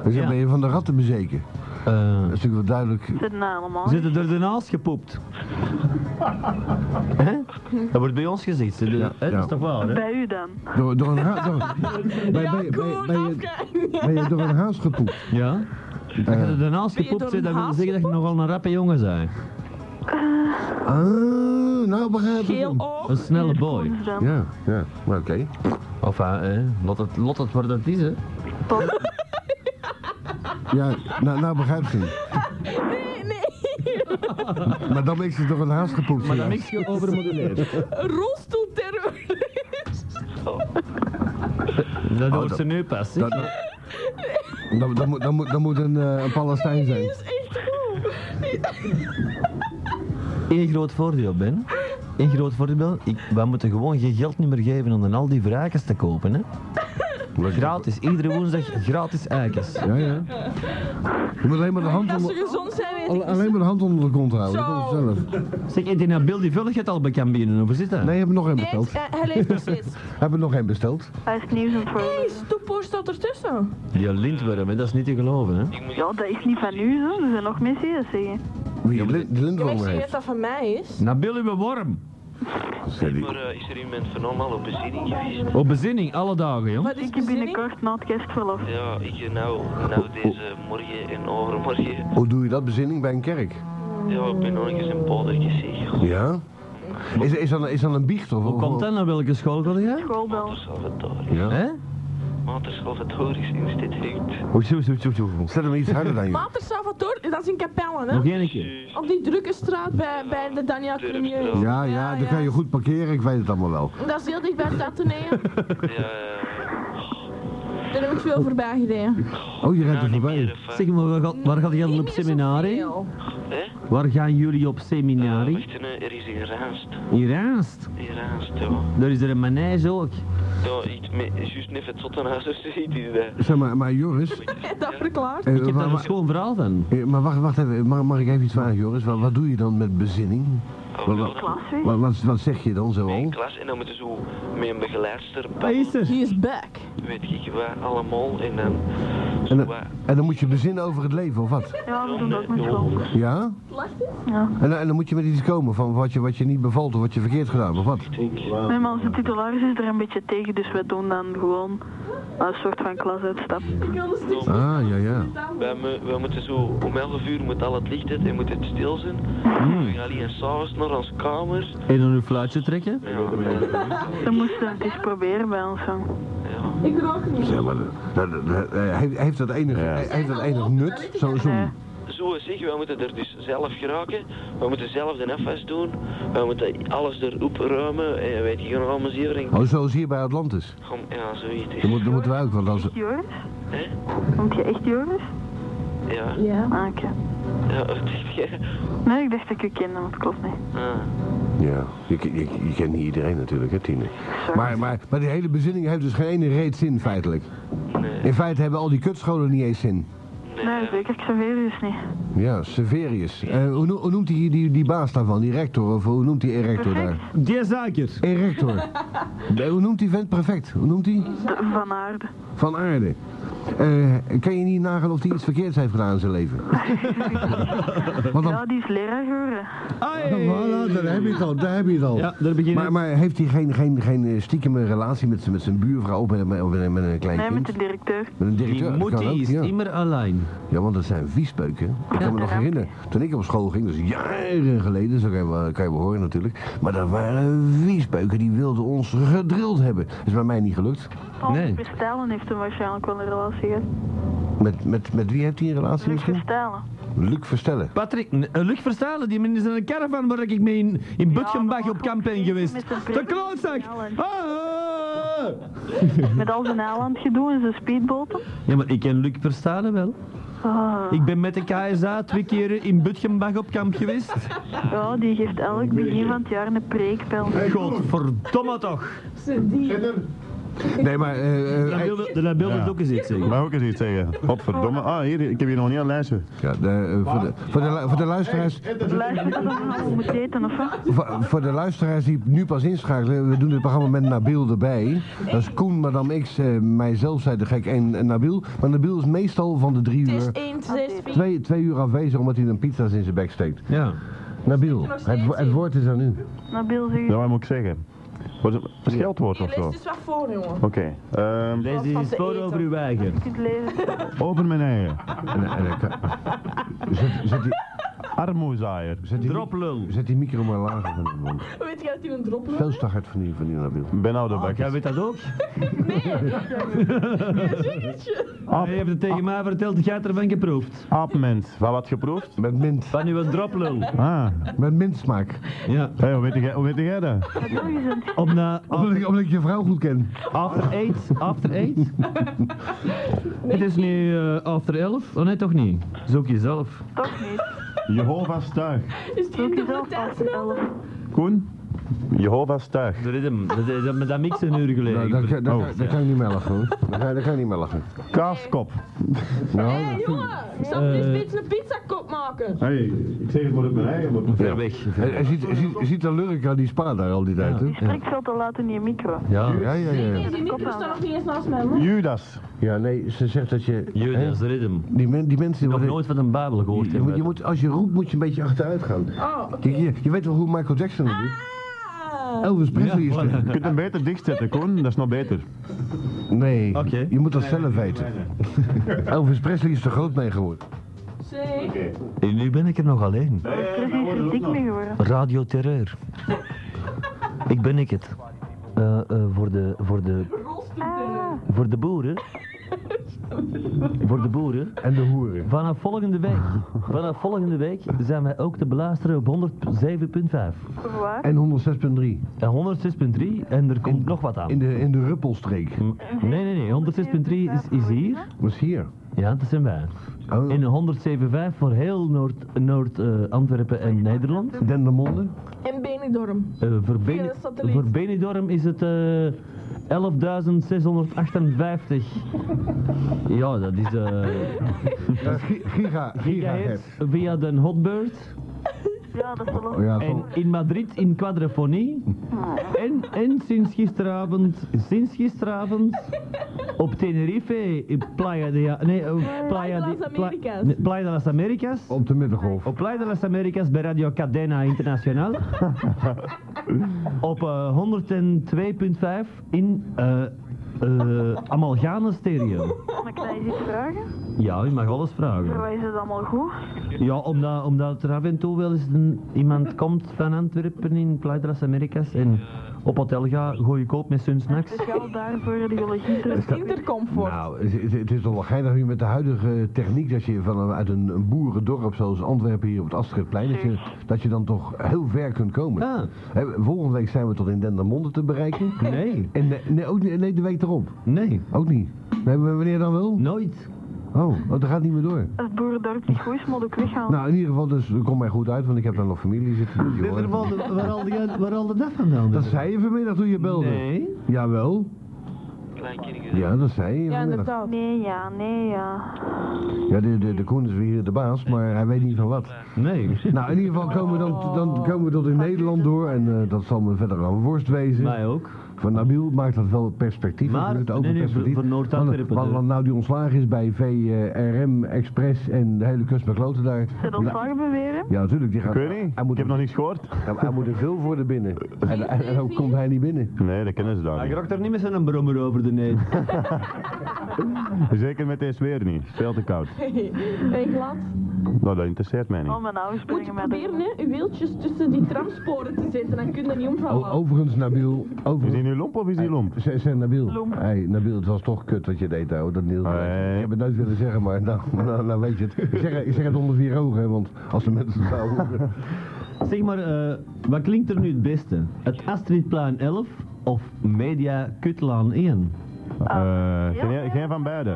Speaker 2: Dus dan
Speaker 3: Ja.
Speaker 2: ben je van de ratten bezeken.
Speaker 3: Eh,
Speaker 2: Dat is natuurlijk wel duidelijk.
Speaker 4: Zitten nou allemaal?
Speaker 3: Zitten er daarnaast gepoept? Hè? Dat wordt bij ons gezegd. Zitten,
Speaker 2: Ja,
Speaker 3: hè?
Speaker 2: ja.
Speaker 3: Dat is toch waar, hè?
Speaker 4: Bij u dan?
Speaker 2: Door, door een haas... Door, ben,
Speaker 1: Ja,
Speaker 2: ben- ben-
Speaker 1: Koen,
Speaker 2: ben je,
Speaker 1: afkijk.
Speaker 2: ben je door een haas gepoept?
Speaker 3: Ja? Als je er daarnaast
Speaker 1: Ben je
Speaker 3: gepoept
Speaker 1: door
Speaker 3: zit,
Speaker 1: een
Speaker 3: dan wil
Speaker 1: haas
Speaker 3: dat zeggen dat je nogal een rappe jongen bent.
Speaker 2: Ah, nou begrijp ik
Speaker 1: Geel
Speaker 2: hem.
Speaker 1: oog.
Speaker 3: Een snelle boy.
Speaker 4: Ons dan?
Speaker 2: Ja, ja. Maar oké.
Speaker 3: Of eh, hè, lot het, lot het wat het is, hè.
Speaker 2: Ja, nou, nou begrijp ik hem.
Speaker 1: Nee, nee.
Speaker 2: Maar dan ben je door een haas gepoept.
Speaker 3: Maar dan
Speaker 2: zojuist.
Speaker 3: mix je overmoduleerd.
Speaker 1: Een rolstoelterrorist.
Speaker 3: Ah, Dat
Speaker 2: Oh,
Speaker 3: hoort
Speaker 2: dat-
Speaker 3: ze nu pas, hè.
Speaker 2: Dat, dat, dat moet, dat, moet, dat moet een, eh, een Palestijn zijn.
Speaker 1: Dat is echt goed.
Speaker 3: Eén groot voordeel, Ben. Eén groot voordeel. Ik, wij moeten gewoon geen geld niet meer geven om dan al die wraakjes te kopen, hè. Gratis. Iedere woensdag gratis eikens.
Speaker 2: Ja, ja. Je moet alleen maar de hand
Speaker 1: Als ze
Speaker 2: onder,
Speaker 1: gezond zijn, weet
Speaker 2: alle-
Speaker 1: ik
Speaker 2: alleen maar de hand onder de kont houden. Dat komt
Speaker 1: Zo.
Speaker 2: zelf.
Speaker 3: Zeg, en die Nabil, die vulligheid al bekend binnen, over zit dat?
Speaker 2: Nee, hebben nog één
Speaker 1: Nee,
Speaker 2: besteld.
Speaker 1: Eh, hij- hij leeft nog steeds.
Speaker 2: Hebben nog één besteld.
Speaker 4: Hij is nieuws aan het
Speaker 1: Hé,
Speaker 4: voorlezen.
Speaker 1: stoeppoor staat ertussen.
Speaker 3: Die lintworm, hè, dat is niet te geloven, hè.
Speaker 4: Ja, dat is niet van u, hè. Er zijn nog mensen die dat zeggen.
Speaker 2: Wie de
Speaker 1: Ja, maar ik
Speaker 2: lintworm
Speaker 1: zie dat
Speaker 2: heeft.
Speaker 1: dat van mij is.
Speaker 3: Nabil, uw worm.
Speaker 5: Maar eh, is er iemand van allemaal op bezinning geweest?
Speaker 3: Op bezinning, alle dagen, jong.
Speaker 1: Wat is
Speaker 4: Ik heb
Speaker 1: bezinning?
Speaker 4: binnenkort na het kerstverlof.
Speaker 5: Ja, ik eh, nou, nou deze morgen en overmorgen.
Speaker 2: Hoe doe je dat bezinning bij een kerk?
Speaker 5: Ja, ik ben nog eens een poldertje zeg.
Speaker 2: Ja. Is, is, dat, een- is dat een biecht of
Speaker 3: Hoe komt dat? Naar welke school ga jij?
Speaker 4: Schoolbel.
Speaker 5: Salvatoris.
Speaker 2: Ja.
Speaker 3: Hè?
Speaker 5: Mater Salvatorisch Instituut.
Speaker 2: Hoe zo, zo, zo, zo. Zet hem iets harder dan je.
Speaker 1: Mater Salvatore, dat is in Capellen, hè?
Speaker 3: Nog één keer.
Speaker 1: Op die drukke straat bij, bij de Daniel Cremieux.
Speaker 5: Durfstraat.
Speaker 2: Ja, ja, dan kan je goed parkeren, ik weet het allemaal wel.
Speaker 1: Dat is heel dicht bij het Atheneum.
Speaker 5: Ja, eh,
Speaker 1: Daar heb ik veel voorbij gereden.
Speaker 2: Oh, je rent
Speaker 5: nou
Speaker 2: er
Speaker 5: niet meer,
Speaker 2: voorbij.
Speaker 5: eh,
Speaker 3: Zeg maar, waar ga- waar gaan jullie op seminarie?
Speaker 5: hè?
Speaker 3: Waar gaan jullie op
Speaker 5: Ja,
Speaker 3: seminarie?
Speaker 5: wacht, eh, er is in Raast.
Speaker 3: In Raast.
Speaker 5: In Raast, ja.
Speaker 3: Daar is er een manege ook.
Speaker 5: Ja, iets met, juist net het zottenhuis of zoiets is dat.
Speaker 2: Zeg maar, maar Joris.
Speaker 1: Dat verklaart.
Speaker 2: eh,
Speaker 3: Ik heb
Speaker 2: wa-
Speaker 3: daar
Speaker 2: wa-
Speaker 3: een schoon verhaal van.
Speaker 2: eh, maar wacht, wacht even, mag, mag ik even iets vragen, Joris? Wat, wat doe je dan met bezinning?
Speaker 5: Oh,
Speaker 2: Wat-
Speaker 5: ja,
Speaker 2: wat-
Speaker 5: dan-
Speaker 4: Klas, hè.
Speaker 2: Wat, wat, wat zeg je dan zo
Speaker 5: in
Speaker 2: al?
Speaker 5: klas en dan moeten ze zo met een begeleidster
Speaker 3: Wat is er?
Speaker 1: He is back.
Speaker 5: weet ik wat allemaal en dan
Speaker 2: En
Speaker 5: zo
Speaker 2: dan,
Speaker 5: wat.
Speaker 2: en dan moet je bezinnen over het leven, of wat?
Speaker 4: Ja, we doen dat ook met school.
Speaker 2: Ja?
Speaker 4: Ja.
Speaker 2: En, dan- en dan moet je met iets komen van wat je, wat je niet bevalt of wat je verkeerd gedaan hebt, of wat?
Speaker 4: Nee, maar onze titularis is er een beetje tegen, dus we doen dan gewoon een soort van klasuitstap.
Speaker 1: Ik wil de stift
Speaker 2: Ah, ja, ja.
Speaker 5: Wij, mu- wij moeten zo om 11 uur moet al het licht uit en moet het stil zijn. We gaan alleen s'avonds naar onze kamer.
Speaker 3: En dan uw fluitje trekken?
Speaker 5: Ja, ja,
Speaker 4: Dan moesten we het eens proberen bij ons. hè.
Speaker 5: ja.
Speaker 1: Ik rook niet.
Speaker 2: Zeg maar, dat- dat- dat- eh, heeft, heeft dat enig, eh, heeft dat enig nut? Zo, zo,
Speaker 4: Nee.
Speaker 5: zo is zich, wij moeten er dus zelf geraken. Wij moeten zelf de afwas doen. Wij moeten alles erop ruimen. En weet je, gaan allemaal zeer en...
Speaker 2: Oh, zoals hier bij Atlantis.
Speaker 5: Kom, Ja, zoiets.
Speaker 2: Dan, Oh. moet, dan moeten wij ook, want als...
Speaker 4: Joris?
Speaker 5: Hè?
Speaker 4: Noemt je echt Joris?
Speaker 5: Ja.
Speaker 7: Ja.
Speaker 4: Ah, oké.
Speaker 5: Ja, wat dacht jij?
Speaker 4: Nee, ik dacht dat ik u kende, maar het klopt niet.
Speaker 5: Ah.
Speaker 2: Ja, je, je, je kent niet iedereen natuurlijk, hè, Tine?
Speaker 4: Sorry.
Speaker 2: Maar, maar, maar die hele bezinning heeft dus geen ene reet zin, feitelijk.
Speaker 5: Nee.
Speaker 2: In feite hebben al die kutscholen niet eens zin.
Speaker 4: Nee, zeker Xaverius niet.
Speaker 2: Ja, Severius. Eh, hoe, no- hoe noemt die, die, die baas daarvan, die rector? Of hoe noemt die erector daar?
Speaker 3: Die zaker.
Speaker 2: Erector. Nee, hoe noemt die vent prefect? Hoe noemt die?
Speaker 4: De van Aarde.
Speaker 2: Van Aarde. Eh, kan je niet nagaan of hij iets verkeerds heeft gedaan in zijn leven? Want dan,
Speaker 4: Ja, die is leraar geworden.
Speaker 2: Voilà, daar heb je het al, daar heb je het al.
Speaker 3: Ja, daar begin je.
Speaker 2: Maar, maar heeft hij geen, geen, geen eh, stiekeme relatie met, z'n- met zijn buurvrouw of met, met, met, met een klein
Speaker 4: Nee, met
Speaker 2: kind?
Speaker 4: de directeur.
Speaker 2: Met een
Speaker 3: Die
Speaker 2: directeur? dat
Speaker 3: moet
Speaker 2: kan ook,
Speaker 3: is
Speaker 2: ja.
Speaker 3: immer alleen.
Speaker 2: Ja, want dat zijn viespeuken. Ik kan me nog herinneren, toen ik op school ging, dus jaren geleden, zo kan je, wel- kan je wel horen natuurlijk. Maar dat waren viespeuken, die wilden ons gedrild hebben. Is bij mij niet gelukt.
Speaker 3: Nee.
Speaker 4: Oh, Verstalen heeft hem waarschijnlijk wel een relatie gehad.
Speaker 2: Met, met, met wie heeft hij een relatie
Speaker 4: Luc
Speaker 2: misschien?
Speaker 4: Verstalen.
Speaker 2: Luc Verstellen.
Speaker 3: Patrick, n- eh, Luc Verstalen, die man is in een caravan waar ik mee in, in Butgenbach
Speaker 4: maar
Speaker 3: op
Speaker 4: ook
Speaker 3: kamp ben
Speaker 4: met
Speaker 3: geweest.
Speaker 4: een bril.
Speaker 3: De klootzak! Ah!
Speaker 4: Met al zijn Aland gedoe en zijn speedboten.
Speaker 3: Ja, maar ik ken Luc Verstalen wel.
Speaker 4: Ah,
Speaker 3: Ik ben met de KSA twee keer in Butgenbach op kamp geweest.
Speaker 4: ja, die geeft elk begin van het jaar een preekpel.
Speaker 3: Godverdomme toch!
Speaker 2: Nee, maar... eh, eh,
Speaker 3: Dat
Speaker 2: eh,
Speaker 3: wilde, dat wilde
Speaker 8: Ja.
Speaker 3: ook eens iets zeggen.
Speaker 8: Wou ik eens iets zeggen? Godverdomme. Ah, hier, ik heb hier nog een heel lijstje.
Speaker 2: ja, de, eh, voor, de, voor, de, lu- voor de luisteraars...
Speaker 4: Luister dat dan allemaal moet eten, of wat?
Speaker 2: Voor, voor de luisteraars die nu pas inschakelen, we doen het programma met Nabil erbij. Dat is Koen, Madame X, eh, mijzelf, zei de gek en, en Nabil. Maar Nabil is meestal van de drie
Speaker 1: Het is
Speaker 2: uur,
Speaker 1: 1, 6, 4.
Speaker 2: twee, twee uur afwezig omdat hij een pizza's in zijn bek steekt.
Speaker 3: Ja.
Speaker 2: Nabil, het, wo- het woord is aan u.
Speaker 4: Nabil, zeg
Speaker 8: Ja, wat moet ik zeggen? Wat een scheldwoord
Speaker 1: Je
Speaker 8: of zo?
Speaker 1: leest
Speaker 8: Oké.
Speaker 1: dus wat voor, jongen.
Speaker 8: ehm,
Speaker 3: Lees
Speaker 1: Wat van
Speaker 3: die
Speaker 1: te
Speaker 3: spoor
Speaker 1: eten.
Speaker 3: over uw eigen.
Speaker 4: je kunt lezen.
Speaker 8: open mijn eigen.
Speaker 2: En, en, hij kan- zet, zet, die,
Speaker 8: Armoezaaier.
Speaker 2: zet, die, mi-
Speaker 3: Droplul.
Speaker 2: zet die micro maar lager van de man.
Speaker 1: Weet je dat hij een drop loopt?
Speaker 2: Veel te hard van die, van die Nabil.
Speaker 8: Ben oude
Speaker 3: Ah, Jij
Speaker 8: bakker.
Speaker 3: weet dat ook?
Speaker 8: Aap,
Speaker 3: Hij heeft het tegen mij verteld, jij hebt ervan geproefd.
Speaker 8: aapmens. Van wat geproefd?
Speaker 2: Met mint,
Speaker 3: Van uw droplul.
Speaker 8: Ah.
Speaker 2: met mintsmaak.
Speaker 3: Ja.
Speaker 8: Hé, hoe weet jij- hoe weet jij dat?
Speaker 4: Nabil, je bent
Speaker 3: Op na,
Speaker 2: Omdat ik, omdat ik je vrouw goed ken.
Speaker 3: After 8? After 8? Het is nu eh, after 11? Oh nee, toch niet. Zoek jezelf.
Speaker 4: toch niet.
Speaker 8: Jehovah's tuig.
Speaker 1: Is die
Speaker 4: Doe
Speaker 1: in
Speaker 4: je
Speaker 1: de
Speaker 4: zelf
Speaker 1: vertaal?
Speaker 4: altijd elf.
Speaker 8: Koen? Jehovah's tuig.
Speaker 3: Dat is hem. Dat is met dat mix een uur
Speaker 2: Nou, daar, kan-
Speaker 3: geleden.
Speaker 2: daar,
Speaker 8: Oh,
Speaker 2: kan- daar kan ik niet meer lachen hoor. Daar kan, daar kan ik niet meer lachen. Nou,
Speaker 8: Kaaskop.
Speaker 1: Hé, hey, jongen!
Speaker 2: Eh.
Speaker 1: Ik zal eens een beetje een pizzakop maken.
Speaker 8: Hé, ik zeg het maar op mijn eigen.
Speaker 3: Ver weg.
Speaker 2: Hij, hij ziet, hij ziet, hij ziet de lurk aan die spa daar al die tijd, hè?
Speaker 4: Die spreekt veel te laat in je micro.
Speaker 3: Ja.
Speaker 2: Ja, ja, ja.
Speaker 1: Nee, die micro staat nog niet eens naast mij, man.
Speaker 8: Judas.
Speaker 2: Ja, nee, ze zegt dat je...
Speaker 3: Judas Rhythm.
Speaker 2: hè, Die, men- die mensen... die
Speaker 3: Nog
Speaker 2: worden-
Speaker 3: nooit van een Bijbel gehoord
Speaker 2: je moet, je
Speaker 3: hebben.
Speaker 2: moet, als je roept, moet je een beetje achteruit gaan.
Speaker 1: Oh, oké. Ah.
Speaker 2: Je, je, je weet wel hoe Michael Jackson dat doet? Elvis Presley is
Speaker 8: Je kunt hem beter dichtzetten, Koen. Dat is nog beter.
Speaker 2: er- Nee,
Speaker 3: Oké.
Speaker 2: je moet dat zelf weten. Elvis Presley is er groot mee geworden.
Speaker 1: Zeg.
Speaker 3: En nu ben ik er nog alleen.
Speaker 4: Precies, is dik mee geworden.
Speaker 3: Radio Terreur. ik ben ik het. Eh, eh, voor, de, voor, de,
Speaker 1: eh,
Speaker 3: voor de boeren. voor de boeren.
Speaker 2: En de hoeren.
Speaker 3: Vanaf volgende week, vanaf volgende week zijn wij ook te beluisteren op 107.5
Speaker 4: Waar?
Speaker 2: En 106.3.
Speaker 3: en 106.3 en er komt nog wat aan.
Speaker 2: In de, in de Ruppelstreek.
Speaker 3: M- Nee, nee, nee, 106.3 is, is hier.
Speaker 2: Wat is hier?
Speaker 3: Ja, dat zijn wij.
Speaker 2: Oh,
Speaker 3: En 107.5 voor heel Noord-Antwerpen Noord, eh, Antwerpen en
Speaker 2: eh,
Speaker 3: Nederland.
Speaker 2: Dendermonde.
Speaker 1: En Benidorm.
Speaker 3: Eh, voor, Bene-
Speaker 1: Via de satelliet.
Speaker 3: voor Benidorm is het eh 11.658. ja, dat is... eh
Speaker 2: Ja, gi- giga, giga
Speaker 3: gigahertz via de Hotbird.
Speaker 4: Ja, dat is wel
Speaker 2: Oh ja,
Speaker 3: En
Speaker 2: toch.
Speaker 3: in Madrid in quadrafonie.
Speaker 1: Ah.
Speaker 3: En, en sinds gisteravond, sinds gisteravond, op Tenerife, in Playa de... Ja- Nee, eh, Playa
Speaker 1: de
Speaker 3: de...
Speaker 1: las
Speaker 3: Pla-
Speaker 1: Américas.
Speaker 3: nee, Playa de las Americas.
Speaker 2: Op de Middengolf.
Speaker 3: Op Playa de las Americas bij Radio Cadena Internacional. op eh, 102.5 in eh eh Amalgane Stereo.
Speaker 4: Mag ik dat eens iets vragen?
Speaker 3: Ja, u mag alles
Speaker 4: Voor
Speaker 3: vragen.
Speaker 4: wat is het allemaal goed?
Speaker 3: Ja, omdat, omdat er af en toe wel eens een, iemand komt van Antwerpen in Playa de las Americas en... op hotel ga, goedkoop met sun snacks.
Speaker 4: Speciaal Dus daarvoor de biologie
Speaker 1: Intercomfort.
Speaker 2: Nou, het, het- het is toch wel geinig nu met de huidige techniek dat je van, een- uit een, een boerendorp zoals Antwerpen hier op het Astridplein, dat je, dat je dan toch heel ver kunt komen.
Speaker 3: Ah,
Speaker 2: Hè, volgende week zijn we tot in Dendermonde te bereiken.
Speaker 3: nee,
Speaker 2: En nee, nee, ook niet, nee, de week erop.
Speaker 3: nee,
Speaker 2: Ook niet. Nee, maar wanneer dan wel?
Speaker 3: nooit.
Speaker 2: Oh, oh, dat gaat niet meer door.
Speaker 4: Als het boerendorp niet goed is, moet ik weggaan.
Speaker 2: Nou, in ieder geval, dus, dat komt mij goed uit, want ik heb daar nog familie zitten. die horen.
Speaker 3: waar al die- waar al de dag vandaan?
Speaker 2: Dat zei je vanmiddag toen je belde.
Speaker 3: Nee.
Speaker 2: Jawel.
Speaker 5: Klein kindje.
Speaker 2: Ja, dat zei je
Speaker 1: Ja,
Speaker 2: vanmiddag.
Speaker 1: inderdaad.
Speaker 4: Nee, ja, nee, ja.
Speaker 2: Ja, de, de, de Koen is weer de baas, maar hij weet niet van wat.
Speaker 3: Nee.
Speaker 2: Nou, in ieder geval komen we dan, dan komen we tot in Nederland door en eh, dat zal me verder aan worst wezen.
Speaker 3: Mij ook.
Speaker 2: Van Nabil maakt dat wel perspectief.
Speaker 3: Maar-
Speaker 2: dat doet het ook
Speaker 3: nee,
Speaker 2: een
Speaker 3: nee,
Speaker 2: perspectief.
Speaker 3: voor- voor
Speaker 2: want,
Speaker 3: Noord-Antwerpen,
Speaker 2: want,
Speaker 3: de-
Speaker 2: want nou die ontslagen is bij VRM Express en de hele kust bij Kloten daar. Nou,
Speaker 4: Zit ontslagen beweren?
Speaker 2: Ja, natuurlijk. Die gaat,
Speaker 8: Ik weet niet.
Speaker 2: Hij
Speaker 8: Ik
Speaker 2: moet,
Speaker 8: heb nog niets gehoord.
Speaker 2: hij, hij moet er veel voor de binnen. En, en, en ook komt hij niet binnen.
Speaker 8: Nee, dat kennen ze daar
Speaker 3: Hij
Speaker 8: niet.
Speaker 3: raakt er niet met zijn brommer over de neus.
Speaker 8: Zeker met deze weer niet. Veel te koud.
Speaker 1: Hey, glad.
Speaker 8: Nou, dat interesseert mij
Speaker 4: Al
Speaker 8: niet.
Speaker 4: Oh, mijn ouders
Speaker 1: Moet je
Speaker 4: brengen mij
Speaker 1: proberen
Speaker 4: de...
Speaker 1: hè, je wieltjes tussen die tramsporen te zetten, dan kun je niet
Speaker 2: O-
Speaker 1: omvallen.
Speaker 2: overigens, Nabil.
Speaker 8: Is hij
Speaker 2: Overigens.
Speaker 8: nu lomp of is hij lomp?
Speaker 2: Zeg, zeg, Nabil.
Speaker 4: Lomp.
Speaker 2: Hey, Nabil, het was toch kut wat je deed, ouwe. Dat Niels.
Speaker 8: Nee.
Speaker 2: Ik heb het nooit willen zeggen, maar nou, nou, nou weet je het. Ik zeg, ik zeg het onder vier ogen, hè, want als de mensen het zouden horen.
Speaker 3: Zeg maar, eh, wat klinkt er nu het beste? Het Astridplein 11 of Media Kutlaan 1?
Speaker 9: Ah.
Speaker 8: Eh, geen, geen van beide.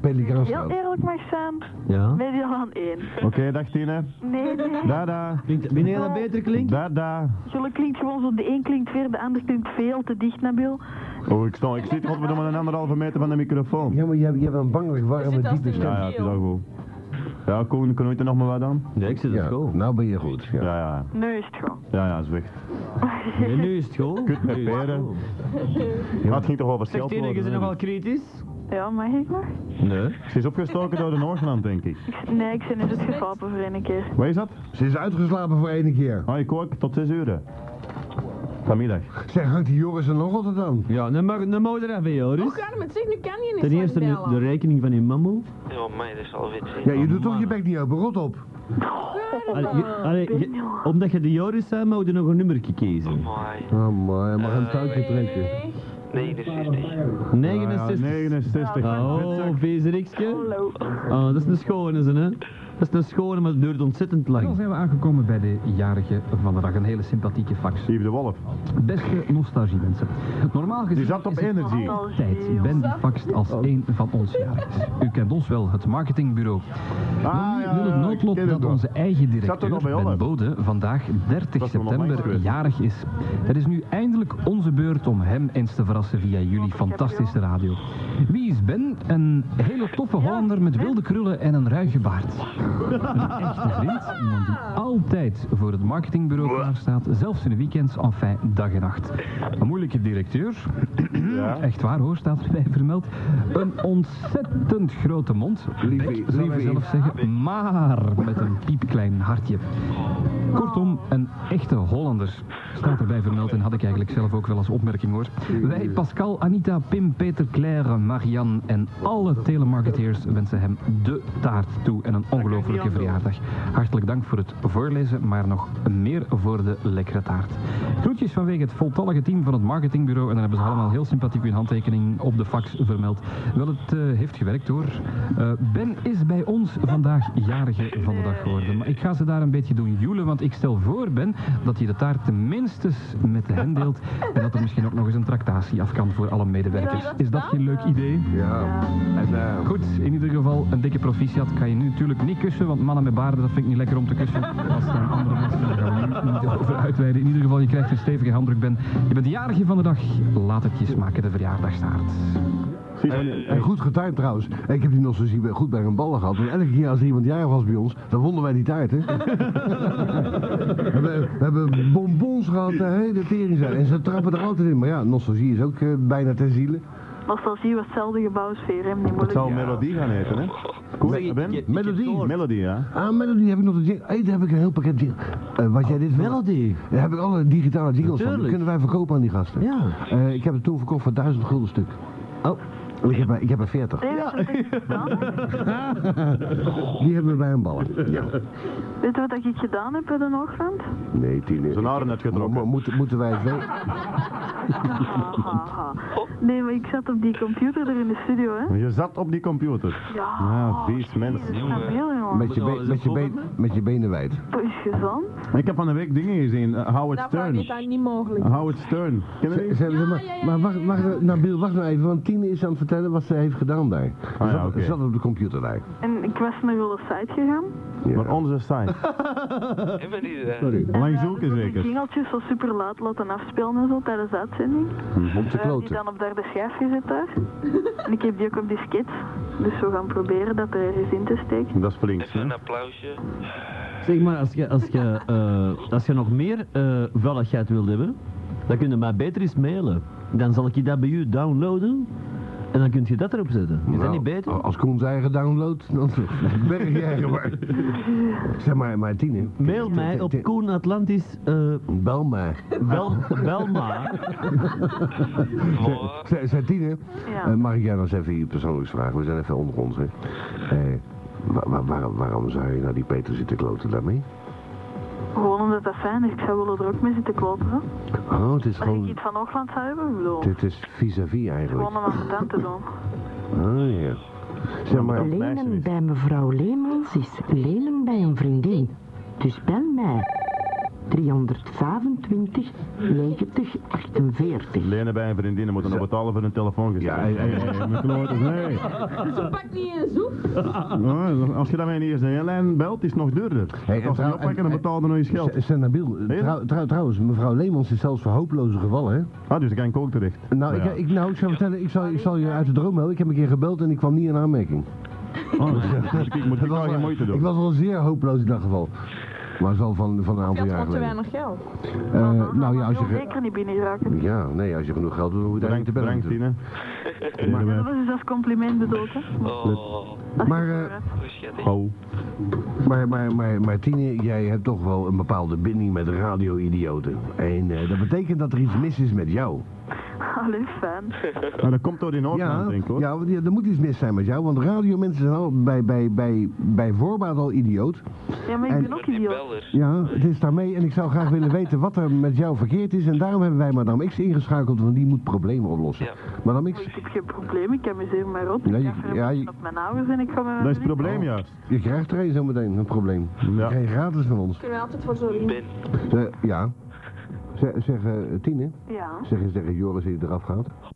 Speaker 2: Pelikaanstraat.
Speaker 4: Heel eerlijk mag zijn,
Speaker 3: Ja.
Speaker 4: Medialaan 1.
Speaker 8: Oké, dag Tine.
Speaker 4: Nee, nee.
Speaker 8: Dada.
Speaker 3: Klinkt, ben je dat beter klinkt?
Speaker 8: Dada.
Speaker 4: Jullie klinkt gewoon zo, de een klinkt weer, de ander klinkt veel te dicht, Nabil.
Speaker 8: Oh, ik, stond, ik zit godverdomme een anderhalve meter van de microfoon.
Speaker 2: Ja, maar je hebt, je hebt een bangelijk warme,
Speaker 1: zit als
Speaker 2: diepe
Speaker 1: die-
Speaker 2: stem.
Speaker 8: Ja, ja, het is al goed. Ja, Koen, kunnen we er nog maar wat aan?
Speaker 3: Nee, ik zit op
Speaker 2: Ja,
Speaker 3: school.
Speaker 2: nou ben je goed. Ja.
Speaker 8: Ja, ja.
Speaker 4: Nu is het gewoon.
Speaker 8: Ja, ja, is weg.
Speaker 3: Nee, nu is het school.
Speaker 8: Kut met
Speaker 3: Nu is het
Speaker 8: peren.
Speaker 3: school.
Speaker 8: Maar het ging toch over
Speaker 3: Zeg
Speaker 8: scheldwoorden,
Speaker 3: Tine, je
Speaker 8: hè?
Speaker 3: bent nogal kritisch?
Speaker 4: Ja, mag ik nog?
Speaker 3: Nee.
Speaker 8: Ze is opgestoken door de Noordland, denk ik.
Speaker 4: Ik- Nee, ik ben in het geslapen voor een keer.
Speaker 8: Waar is dat?
Speaker 2: Ze is uitgeslapen voor één keer.
Speaker 8: Ah, ik ook tot 6 uur. hè. Vanmiddag.
Speaker 2: Zeg, hangt die Joris er nog altijd aan?
Speaker 3: Ja, dan mag, dan mag je eraf, hè,
Speaker 1: Hoe
Speaker 3: Joris.
Speaker 1: kan het? Zeg, nu kan je niet
Speaker 3: Ten
Speaker 1: zo
Speaker 3: eerste nu
Speaker 1: bellen.
Speaker 3: de rekening van je mammo.
Speaker 5: Ja, mij, dat is al wit.
Speaker 2: Ja,
Speaker 8: Oh,
Speaker 2: je doet toch je bek niet open, rot op.
Speaker 3: Allee, je- allee, je- omdat je de Joris zei, mag je nog een nummertje kiezen.
Speaker 5: Amai.
Speaker 2: Oh man, hij mag een
Speaker 5: Eh,
Speaker 2: touwtje trekken.
Speaker 1: Nee.
Speaker 5: 69.
Speaker 8: Ah,
Speaker 3: 69.
Speaker 8: ja, 69.
Speaker 3: Oh, VZX'je.
Speaker 4: Hallo.
Speaker 3: Oh, dat is een schone, ze, hè. Dat is een schone, maar het duurt ontzettend
Speaker 9: Dan
Speaker 3: lang.
Speaker 9: zijn we aangekomen bij de jarige van de dag. Een hele sympathieke fax.
Speaker 8: Yves de Wolf.
Speaker 9: Beste nostalgie mensen. Normaal gezien
Speaker 8: Die zat op
Speaker 9: is het
Speaker 8: energy.
Speaker 9: tijd. Ben die faxt als een van ons jarig is. U kent ons wel, het marketingbureau.
Speaker 8: Ah,
Speaker 9: Nu wil het noodlot dat onze eigen
Speaker 8: Zat er nog
Speaker 9: directeur,
Speaker 8: bij Holland?
Speaker 9: Ben Bode, vandaag 30
Speaker 8: Dat is nog onlangs
Speaker 9: september
Speaker 8: geweest.
Speaker 9: jarig is. Het is nu eindelijk onze beurt om hem eens te verrassen via jullie fantastische radio. Wie is Ben? Een hele toffe Hollander met wilde krullen en een ruige baard. Een echte vriend, iemand die altijd voor het marketingbureau klaarstaat, zelfs in de weekends, enfin dag en nacht. Een moeilijke directeur,
Speaker 8: Ja.
Speaker 9: echt waar hoor, staat erbij vermeld. Een ontzettend grote mond,
Speaker 2: Lieve-
Speaker 9: Bek, zou
Speaker 2: lieve
Speaker 9: hij zelf zeggen, maar met een piepklein hartje. Kortom, een echte Hollander. Staat erbij vermeld en had ik eigenlijk zelf ook wel als opmerking hoor. Wij, Pascal, Anita, Pim, Peter, Claire, Marianne en alle telemarketeers wensen hem de taart toe en een ongelofelijke verjaardag. Hartelijk dank voor het voorlezen, maar nog meer voor de lekkere taart. Groetjes vanwege het voltallige team van het marketingbureau en dan hebben ze allemaal heel sympathiek hun handtekening op de fax vermeld. Wel, het eh, heeft gewerkt hoor. Eh, ben is bij ons vandaag jarige van de dag geworden, maar ik ga ze daar een beetje doen joelen, want ik stel voor Ben dat je de taart tenminste met hen deelt en dat er misschien ook nog eens een tractatie af kan voor alle medewerkers. Is dat geen leuk idee?
Speaker 2: Ja. En, eh,
Speaker 9: Goed, in ieder geval een dikke proficiat. Kan je nu natuurlijk niet kussen, want mannen met baarden, dat vind ik niet lekker om te kussen. Als het aan andere mensen, daar gaan we nu niet over uitweiden. In ieder geval, je krijgt een stevige handdruk, Ben. Je bent de jarige van de dag. Laat het je smaken, de verjaardagstaart.
Speaker 8: Zie je
Speaker 2: en,
Speaker 8: wanneer-
Speaker 2: en goed getimed trouwens. Ik heb die nostalgie bij- goed bij hun ballen gehad. Want elke keer als iemand jarig was bij ons, dan wonnen wij die taart, hè. we, hebben, we hebben bonbons gehad, hè, de tering zijn. En ze trappen er altijd in. Maar ja, nostalgie is ook eh, bijna ter ziele.
Speaker 4: Nostalgie was hetzelfde gebouw als VRM, niet
Speaker 8: Het
Speaker 4: moeilijk.
Speaker 8: zal Melodie gaan eten, hè? Koen, Ben?
Speaker 2: Melodie.
Speaker 8: Melody, ja.
Speaker 2: Ah, Melody heb ik nog een jing- hey, daar heb ik een heel pakket jing- Eh, wat jij dit wil.
Speaker 3: Melody.
Speaker 2: Daar heb ik alle digitale jingles van. Die
Speaker 3: Oh, Natuurlijk.
Speaker 2: kunnen wij verkopen aan die gasten.
Speaker 3: Ja.
Speaker 2: Eh, ik heb het toen verkocht voor 1000 gulden stuk.
Speaker 3: Oh,
Speaker 2: Ik heb, er- ik heb er 40.
Speaker 4: Deventig gedaan?
Speaker 2: Die hebben we bij een ballen. Ja.
Speaker 4: Weet je wat ik gedaan heb bij de ochtend?
Speaker 2: Nee, tien.
Speaker 8: Zijn haren net gedropt.
Speaker 2: Mo- mo- moeten- moeten wij het weten?
Speaker 4: Ha, ha, ha. Oh. Nee, maar ik zat op die computer er in de studio, hè?
Speaker 8: Je zat op die computer.
Speaker 4: Ja.
Speaker 8: Ah, vies mens.
Speaker 4: Dat is stabiel, jongen.
Speaker 2: Met je, be- met je, been- met je benen wijd.
Speaker 4: Dat is gezond.
Speaker 8: Ik heb van de week dingen gezien. eh, Howard
Speaker 7: Dat wou
Speaker 8: Stern.
Speaker 7: je dan niet mogelijk.
Speaker 8: Howard Stern. Ken je
Speaker 2: Ze-
Speaker 8: die?
Speaker 2: ze- ze- maar, maar wacht, wacht, Nabil, wacht nou even, want Tine is aan het vertellen wat ze heeft gedaan daar. Ze
Speaker 8: ja,
Speaker 2: zat,
Speaker 8: oké.
Speaker 2: ze zat op de computer daar.
Speaker 4: En ik was naar jullie site gegaan.
Speaker 2: Ja.
Speaker 8: Maar onze site.
Speaker 5: Hebben die dat?
Speaker 2: Sorry.
Speaker 8: Langs
Speaker 4: Ja,
Speaker 8: zulke
Speaker 4: dat die
Speaker 8: zeker.
Speaker 4: jingeltjes zo super laat laten afspelen en zo tijdens de uitzending.
Speaker 2: Om te
Speaker 4: Eh, die
Speaker 2: kloten.
Speaker 4: dan op derde schijf gezet daar. en ik heb die ook op disket. Dus we gaan proberen dat er ergens in te steken.
Speaker 8: Dat is flink.
Speaker 5: Even
Speaker 8: hè?
Speaker 5: een applausje.
Speaker 3: Zeg maar, als je, als je, eh, als je nog meer eh vuiligheid wilt hebben, dan kun je mij beter eens mailen. Dan zal ik je dat bij u downloaden en dan kun je dat erop zetten. Is dat
Speaker 2: Nou,
Speaker 3: niet beter?
Speaker 2: a- Als Koen zijn eigen download, dan berg je eigen maar. Zeg maar, maar Tine,
Speaker 3: Mail mij op Koen Atlantis, eh,
Speaker 2: bel mij.
Speaker 3: bel, bel maar.
Speaker 5: Voilà.
Speaker 2: Zeg, zeg, Tine,
Speaker 4: Ja.
Speaker 2: eh, mag ik jou nog eens even hier persoonlijk vragen? We zijn even onder ons, hè. Eh, wa- wa- waarom, waarom zou je nou die Peter zitten kloten daarmee?
Speaker 4: Gewoon omdat dat fijn is. Ik zou willen er ook mee zitten kloppen. hè.
Speaker 2: Oh, het is
Speaker 4: Als ik
Speaker 2: gewoon...
Speaker 4: iets van Oogland zou hebben, ik bedoel.
Speaker 2: Dit is vis-à-vis eigenlijk.
Speaker 4: Gewoon om aan mijn te doen.
Speaker 2: Oh, ja. Zeg maar...
Speaker 8: meisje
Speaker 10: Lenen
Speaker 8: is.
Speaker 10: bij mevrouw Leemans is lenen bij een vriendin. Dus bel mij. 325 90 48.
Speaker 8: Lenen bij een vriendin en moeten nog betalen voor een telefoongesprek.
Speaker 2: Ja, ja, ja, ja.
Speaker 8: Nee, mijn klooters, nee.
Speaker 7: Ze pakt niet eens op.
Speaker 8: Oh, Als je dan mijn eerste lijn belt, is het nog duurder.
Speaker 2: Hey, en
Speaker 8: Als je
Speaker 2: trouw-
Speaker 8: niet oppakken,
Speaker 2: en-
Speaker 8: dan betaal je nog eens geld.
Speaker 2: Z- Zeg, Nabil,
Speaker 8: Nee?
Speaker 2: trouw- trouw- trouwens, mevrouw Leemans is zelfs voor hopeloze gevallen, hè?
Speaker 8: Ah, dus dan kan ik ook terecht.
Speaker 2: Nou,
Speaker 8: Maar
Speaker 2: ik,
Speaker 8: ja.
Speaker 2: ik, nou, ik zou vertellen, ik zal, ik zal je uit de droom helpen. Ik heb een keer gebeld en ik kwam niet in aanmerking.
Speaker 8: Oh, dus ik moet ik wel geen moeite
Speaker 2: Ik
Speaker 8: doen.
Speaker 2: was wel zeer hopeloos in dat geval. Maar zo van, van een
Speaker 7: Je
Speaker 2: aantal
Speaker 7: had
Speaker 2: jaar
Speaker 7: gewoon te weinig
Speaker 2: geleden.
Speaker 7: geld.
Speaker 2: Eh, nou ja, als je...
Speaker 4: wil
Speaker 2: ge-
Speaker 4: zeker niet binnen raken.
Speaker 2: Ja, nee, als je genoeg geld doet, dan moet je
Speaker 8: Bedankt,
Speaker 2: eigenlijk te bellen.
Speaker 8: bedankt, Tine.
Speaker 4: Dat was dus als compliment bedoeld, hè?
Speaker 5: Oh,
Speaker 4: Als
Speaker 2: Maar,
Speaker 4: je het
Speaker 2: eh,
Speaker 4: hoort.
Speaker 5: hoe schattig.
Speaker 8: Oh.
Speaker 2: Maar, maar, maar, maar Tine, jij hebt toch wel een bepaalde binding met radio-idioten. En eh, dat betekent dat er iets mis is met jou.
Speaker 4: Allee, fijn.
Speaker 8: Maar dat komt door die Noordland,
Speaker 2: Ja,
Speaker 8: denk ik hoor.
Speaker 2: ja, want ja, er moet iets mis zijn met jou, want radiomensen zijn al bij, bij, bij, bij voorbaat al idioot.
Speaker 4: Ja, maar ik
Speaker 2: En-
Speaker 4: ben ook
Speaker 5: Met die
Speaker 4: idioot.
Speaker 5: bellers.
Speaker 2: Ja, het is daarmee en ik zou graag willen weten wat er met jou verkeerd is. En daarom hebben wij Madame X ingeschakeld, want die moet problemen oplossen.
Speaker 5: Ja.
Speaker 2: Madame
Speaker 4: Ik
Speaker 2: X,
Speaker 4: heb geen probleem, ik kan mezelf maar op.
Speaker 2: Nee,
Speaker 4: ik
Speaker 2: je-
Speaker 4: ga verder
Speaker 2: ja, je-
Speaker 4: op mijn ouders en ik ga met mijn
Speaker 8: Dat is het
Speaker 4: vrienden.
Speaker 8: probleem juist.
Speaker 2: je krijgt er een zometeen, een probleem. Je
Speaker 8: Ja.
Speaker 2: krijgt gratis van ons.
Speaker 7: Kunnen we altijd voor zorgen.
Speaker 5: Ben,
Speaker 2: Eh, ja. Zeg, zeg eh, Tine,
Speaker 4: Ja.
Speaker 2: zeg eens tegen Joris die eraf gaat.